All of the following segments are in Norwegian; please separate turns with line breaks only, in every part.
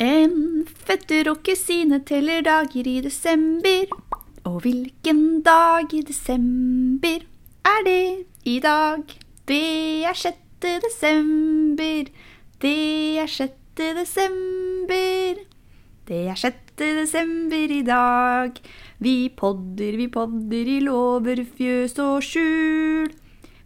En fetter og kusine teller dager i desember. Og hvilken dag i desember er det i dag? Det er 6. desember. Det er 6. desember. Det er 6. desember i dag. Vi podder, vi podder i låverfjøs og skjul.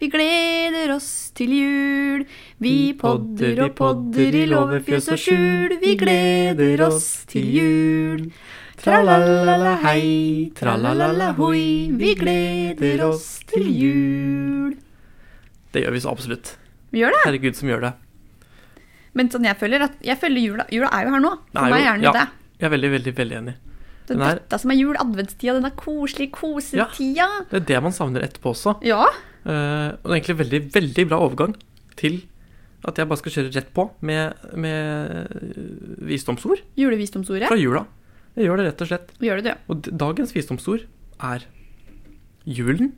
Vi gleder oss til jul. Vi podder og podder i låverfjøs og skjul. Vi gleder oss til jul. Tralalala hei, tralalala hoi. Vi gleder oss til jul.
Det gjør vi så absolutt.
Vi gjør det.
Herregud, som gjør det.
Men sånn jeg føler at jeg føler jula, jula er jo her nå.
Det er
For meg
jo-
er den
ja,
jo det.
Jeg er veldig, veldig veldig enig.
Den
Den er-
døtta som er jul, adventstida, den er koselig, kosetida.
Det er det man savner etterpå også.
Ja.
Eh, og det er egentlig veldig, veldig bra overgang til at jeg bare skal kjøre rett på med, med eh, visdomsord
Julevisdomsordet.
fra jula. Jeg gjør det rett og slett.
Gjør det, du.
Og d- dagens visdomsord er Julen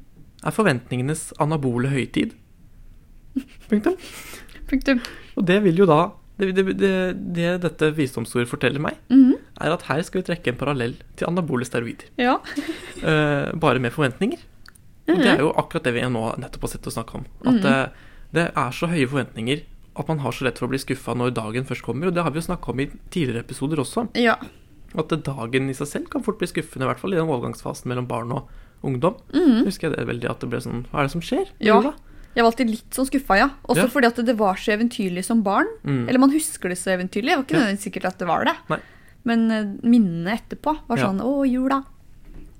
er forventningenes anabole høytid. Punktum.
Punktum.
Og det vil jo da det, det, det, det dette visdomsordet forteller meg,
Mhm.
er at her skal vi trekke en parallell til anabole steroider.
Ja.
Eh, bare med forventninger. Og det er jo akkurat det vi nå nettopp har sett og snakket om. At eh, det er så høye forventninger at man har så lett for å bli skuffa når dagen først kommer. Og det har vi jo snakka om i tidligere episoder også.
Ja.
At det- dagen i seg selv kan fort bli skuffende, i hvert fall i den overgangsfasen mellom barn og ungdom. Husker jeg det veldig at det ble sånn Hva er det som skjer? i
Mm. Ja.
jula?
Mhm. Jeg var alltid litt sånn skuffa, ja. Også
Ja.
fordi at det var så eventyrlig som barn.
Mm.
Eller man husker det så eventyrlig. Det var ikke
Ja.
nødvendigvis sikkert at det var det.
Nei.
Men eh, minnene etterpå var
Ja.
sånn Å, jula.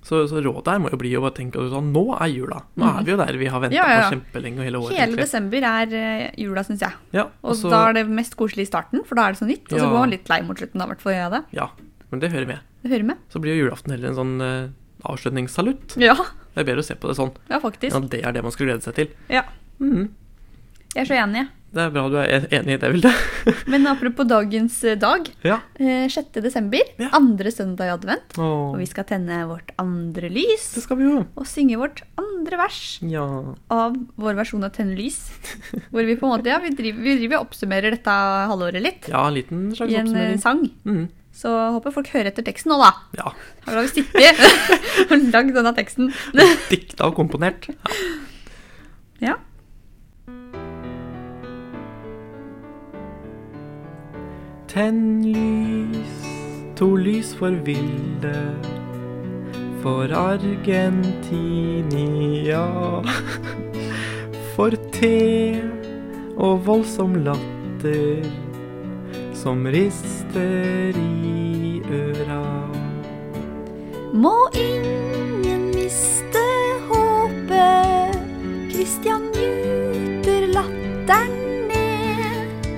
Så, så rådet her må jo bli å bare tenke sånn Nå er jula. Nå er vi jo der vi har
Mm.
venta
Ja, ja, ja.
på kjempelenge og hele året.
Hele
egentlig.
desember er eh, jula, syns jeg.
Ja,
Og da er det mest koselig i starten, for da er det så nytt. Og så
Altså Ja.
går man litt lei mot slutten, da, i hvert fall gjør jeg det.
ja, men det hører med.
Det hører med.
Så blir jo julaften heller en sånn eh, avslutningssalutt.
Ja,
Det er bedre å se på det sånn.
ja faktisk.
Ja, det er det man skal glede seg til.
Ja.
Mhm.
Jeg er så enig. jeg.
Det er bra du er enig i det, Vilde.
Men apropos dagens eh, dag.
ja.
eh, 6. desember,
Ja.
andre søndag i advent.
Åh,
Og vi skal tenne vårt andre lys
det skal vi jo.
og synge vårt andre vers.
Ja.
av vår versjon av Tenne lys. Hvor vi på en måte, ja, vi driver, vi driver og oppsummerer dette halvåret litt
ja, en liten slags
i en eh,
oppsummering.
sang.
Mhm.
Så håper folk hører etter teksten nå, da.
Ja.
Her har vi sittet og lagd denne teksten.
Dikta og komponert. Ja.
Ja.
Tenn lys, to lys for Vilde. For Argentinia. For te og voldsom latter som rister i øra.
Må ingen miste håpet. Christian nyter latteren ned.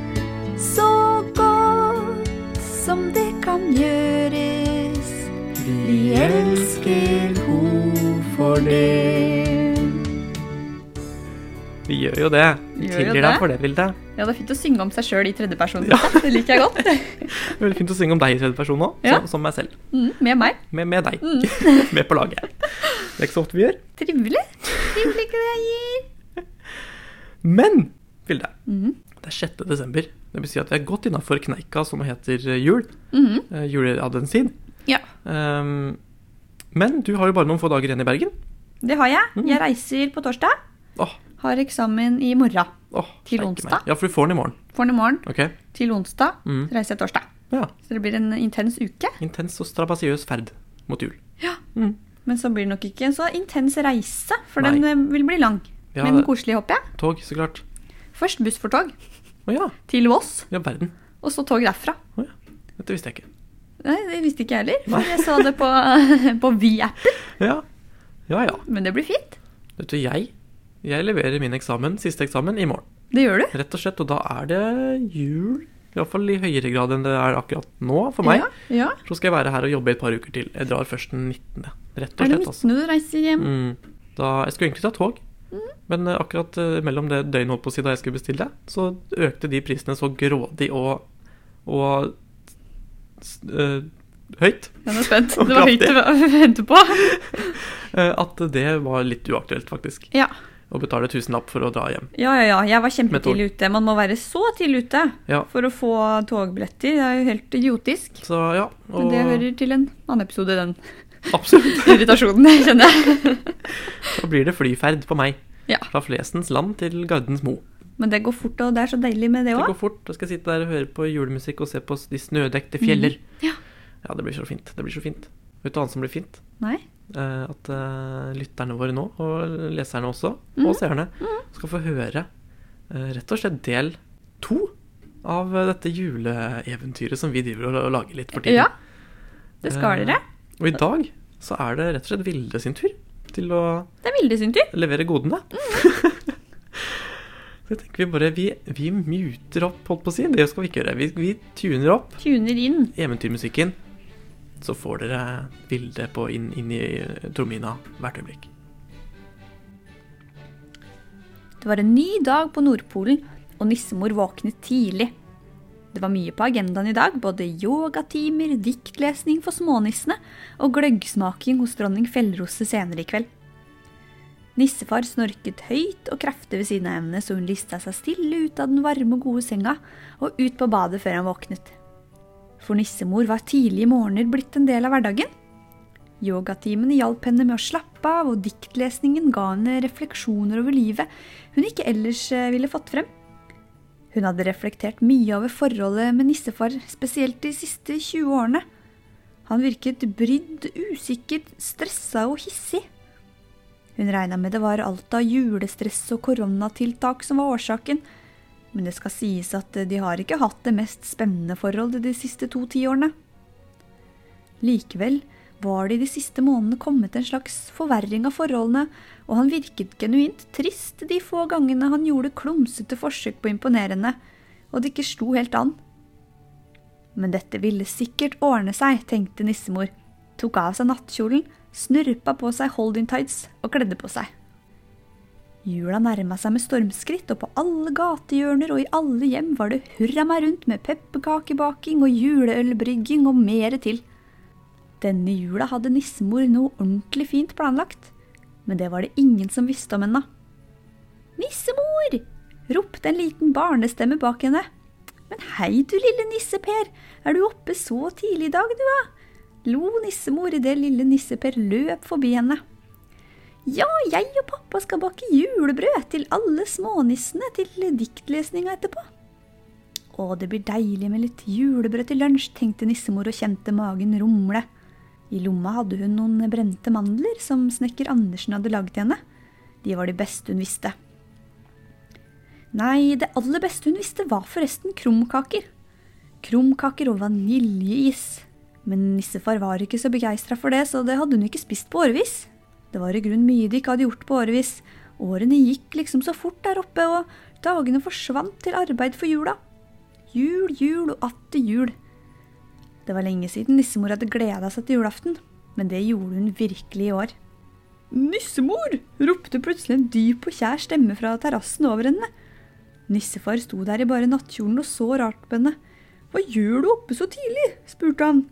Så godt som det kan gjøres. Vi elsker ho for det.
Vi gjør jo det. Vi
Gjør jo
tilgir
det.
deg for det, Vilde.
Ja, det er fint å synge om seg sjøl i tredjeperson. Det liker jeg godt.
Det er Veldig fint å synge om deg i tredje person nå,
Ja.
som, som meg selv.
Mm, med meg.
Med, med deg. med på laget. Det er ikke så ofte vi gjør.
Trivelig. Trivelig ikke det jeg gir.
Men Vilde,
Mhm.
det er 6. desember. Det betyr at vi er godt innafor kneika som heter eh, jul.
Mhm.
Uh, Juleadventstid.
Ja,
Ehm, men du har jo bare noen få dager igjen i Bergen.
det har
Mhm.
jeg. Jeg reiser på torsdag.
Åh,
Har eksamen i morgen.
åh,
Til
steike meg.
onsdag?
Ja, for du får den i morgen.
Får den i morgen.
Ok.
Til onsdag
Mhm.
så reiser jeg torsdag.
Ja.
Så det blir en intens uke.
Intens og strabasiøs ferd mot jul.
Ja.
Mhm.
Men så blir det nok ikke en så intens reise, for
Nei.
den eh, vil bli lang.
Ja,
Men
det-
koselig, håper jeg.
Tog, så klart.
Først buss for tog
Å ja.
til Voss,
Ja, verden.
og så tog derfra.
Å ja. Dette visste jeg ikke.
Nei, Det visste ikke jeg heller.
Nei.
for Jeg så det på, på Vy-appen.
Ja. Ja ja.
Men det blir fint.
Vet du, jeg Jeg leverer min eksamen, siste eksamen, i morgen.
Det gjør du.
Rett og slett. Og da er det jul. Iallfall i høyere grad enn det er akkurat nå for meg.
Ja, ja.
Så skal jeg være her og jobbe i et par uker til. Jeg drar først den 19. Rett og
Er det
slett, altså.
midtene du reiser hjem?
Mm. Da, jeg skulle egentlig ta tog,
Mm.
men eh, akkurat eh, mellom det døgnet holdt på å si da jeg skulle bestille, så økte de prisene så grådig og, og s- eh, høyt
Den er spent.
Og
Det var høyt å vente på.
eh, at det var litt uaktuelt, faktisk.
Ja.
og betale tusenlapp for å dra hjem.
Ja, ja, ja. Jeg var
Med tog.
kjempetidlig ute. Man må være så tidlig ute
Ja.
for å få togbilletter. Det er jo helt idiotisk.
Så ja,
Men
og
det hører til en annen episode, den
absolutt.
irritasjonen, jeg kjenner jeg.
Da blir det flyferd på meg.
Ja.
Fra Flesens land til Gardensmo.
Men det går fort, og det er så deilig med det
Det
òg.
går fort. Da skal jeg sitte der og høre på julemusikk og se på de snødekte fjeller.
Mhm. Ja.
Ja, det blir så fint. Det blir så fint. Vet du hva annet som blir fint?
Nei?
Eh, at eh, lytterne våre nå, og leserne også,
Mhm.
og seerne, skal få høre eh, rett og slett del to av eh, dette juleeventyret som vi driver og, og lager litt for tiden.
Ja. Det skal
Eh,
dere.
Og i dag så er det rett og slett Vilde sin tur til å
Det er Vilde sin tur.
levere godene. Så tenker vi bare Vi, vi muter opp, holdt på å si. Det skal vi ikke gjøre. Vi, vi tuner opp
Tuner inn.
eventyrmusikken. Så får dere bildet på inn, inn i trommehinna hvert øyeblikk.
Det var en ny dag på Nordpolen, og nissemor våknet tidlig. Det var mye på agendaen i dag, både yogatimer, diktlesning for smånissene og gløggsmaking hos dronning Fjellrose senere i kveld. Nissefar snorket høyt og kraftig ved siden av henne, så hun lista seg stille ut av den varme og gode senga og ut på badet før han våknet. For nissemor var tidlige morgener blitt en del av hverdagen. Yogatimene hjalp henne med å slappe av, og diktlesningen ga henne refleksjoner over livet hun ikke ellers eh, ville fått frem. Hun hadde reflektert mye over forholdet med nissefar, spesielt de siste 20 årene. Han virket brydd, usikker, stressa og hissig. Hun regna med det var alt av julestress og koronatiltak som var årsaken, men det skal sies at eh, de har ikke hatt det mest spennende forholdet de siste to tiårene. Likevel var det i de siste månedene kommet en slags forverring av forholdene, og han virket genuint trist de få gangene han gjorde klumsete forsøk på å imponere henne, og det ikke slo helt an. Men dette ville sikkert ordne seg, tenkte nissemor, tok av seg nattkjolen, snurpa på seg holding tights og kledde på seg. Jula nærma seg med stormskritt, og på alle gatehjørner og i alle hjem var det hurra meg rundt med pepperkakebaking og juleølbrygging og mere til. Denne jula hadde nissemor noe ordentlig fint planlagt, men det var det ingen som visste om ennå. Nissemor! ropte en liten barnestemme bak henne. Men hei du lille nisse-Per, er du oppe så tidlig i dag du, da? lo nissemor idet lille nisse-Per løp forbi henne. Ja, jeg og pappa skal bake julebrød til alle smånissene til diktlesninga etterpå. Å, det blir deilig med litt julebrød til lunsj, tenkte nissemor og kjente magen rumle. I lomma hadde hun noen brente mandler som snekker Andersen hadde laget til henne. De var de beste hun visste. Nei, det aller beste hun visste var forresten krumkaker. Krumkaker og vaniljeis. Men nissefar var ikke så begeistra for det, så det hadde hun ikke spist på årevis. Det var i grunnen mye de ikke hadde gjort på årevis. Årene gikk liksom så fort der oppe, og dagene forsvant til arbeid for jula. Jul, jul og atter jul. Det var lenge siden nissemor hadde gleda seg til julaften, men det gjorde hun virkelig i år. Nissemor! ropte plutselig en dyp og kjær stemme fra terrassen over henne. Nissefar sto der i bare nattkjolen og så rart på henne. Hva gjør du oppe så tidlig? spurte han.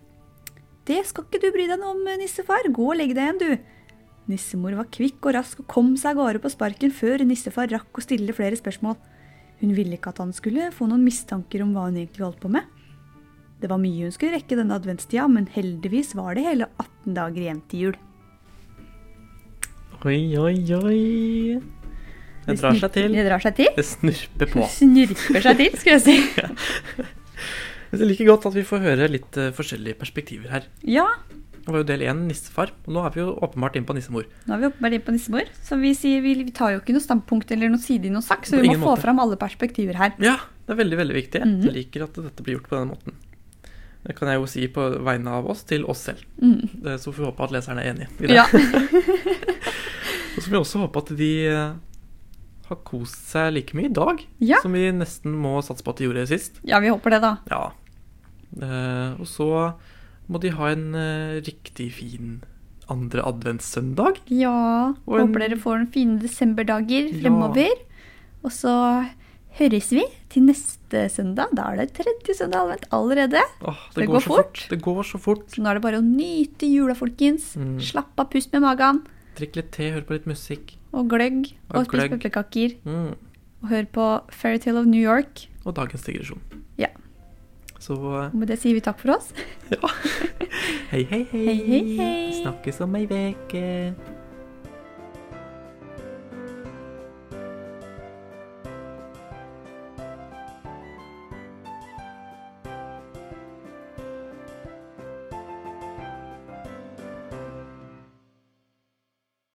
Det skal ikke du bry deg noe om, nissefar. Gå og legg deg igjen, du. Nissemor var kvikk og rask og kom seg av gårde på sparken før nissefar rakk å stille flere spørsmål. Hun ville ikke at han skulle få noen mistanker om hva hun egentlig holdt på med. Det var mye hun skulle rekke denne adventstida, men heldigvis var det hele 18 dager igjen til jul.
Oi, oi, oi. Det drar seg til.
Det drar seg til.
Det snurper på.
Snurper seg til, skulle jeg si.
Jeg liker godt at vi får høre litt eh, forskjellige perspektiver her.
Ja,
Det var jo del én nissefar, og nå er vi jo åpenbart inne på nissemor.
nå er vi oppe med det på nissemor. Så vi, sier, vi vi tar jo ikke noe standpunkt eller noe side i noen sak, så
På
vi må
ingen
få
måte.
fram alle perspektiver her.
Ja, det er veldig, veldig viktig. Jeg
Mhm.
liker at dette blir gjort på den måten. Det kan jeg jo si på vegne av oss til oss selv.
Mm.
Det- Så får vi håpe at leserne er enig i det.
Ja.
Og så får vi også håpe at de eh, har kost seg like mye i dag
Ja.
som vi nesten må satse på at de gjorde sist.
ja, vi håper det, da.
Ja. Eh, og så må de ha en eh, riktig fin andre adventssøndag.
Ja.
Og en-
Håper dere får noen fine desemberdager
Ja.
fremover. Og så høres vi til neste søndag. Da er det tredje søndag advent allerede.
Åh,
Det går
så fort.
fort.
Det går så fort.
Så nå er det bare å nyte jula, folkens.
Mm.
Slapp av, pust med magen.
Drikk litt te, hør på litt musikk.
og gløgg
Og
og spise
gløgg.
pepperkaker
Mm.
og høre på Fairytale of New York.
Og dagens digresjon.
Ja.
Så eh,
Og med det sier vi takk for oss.
hei, hei, hei.
Hei, hei, hei.
Snakkes om ei veke.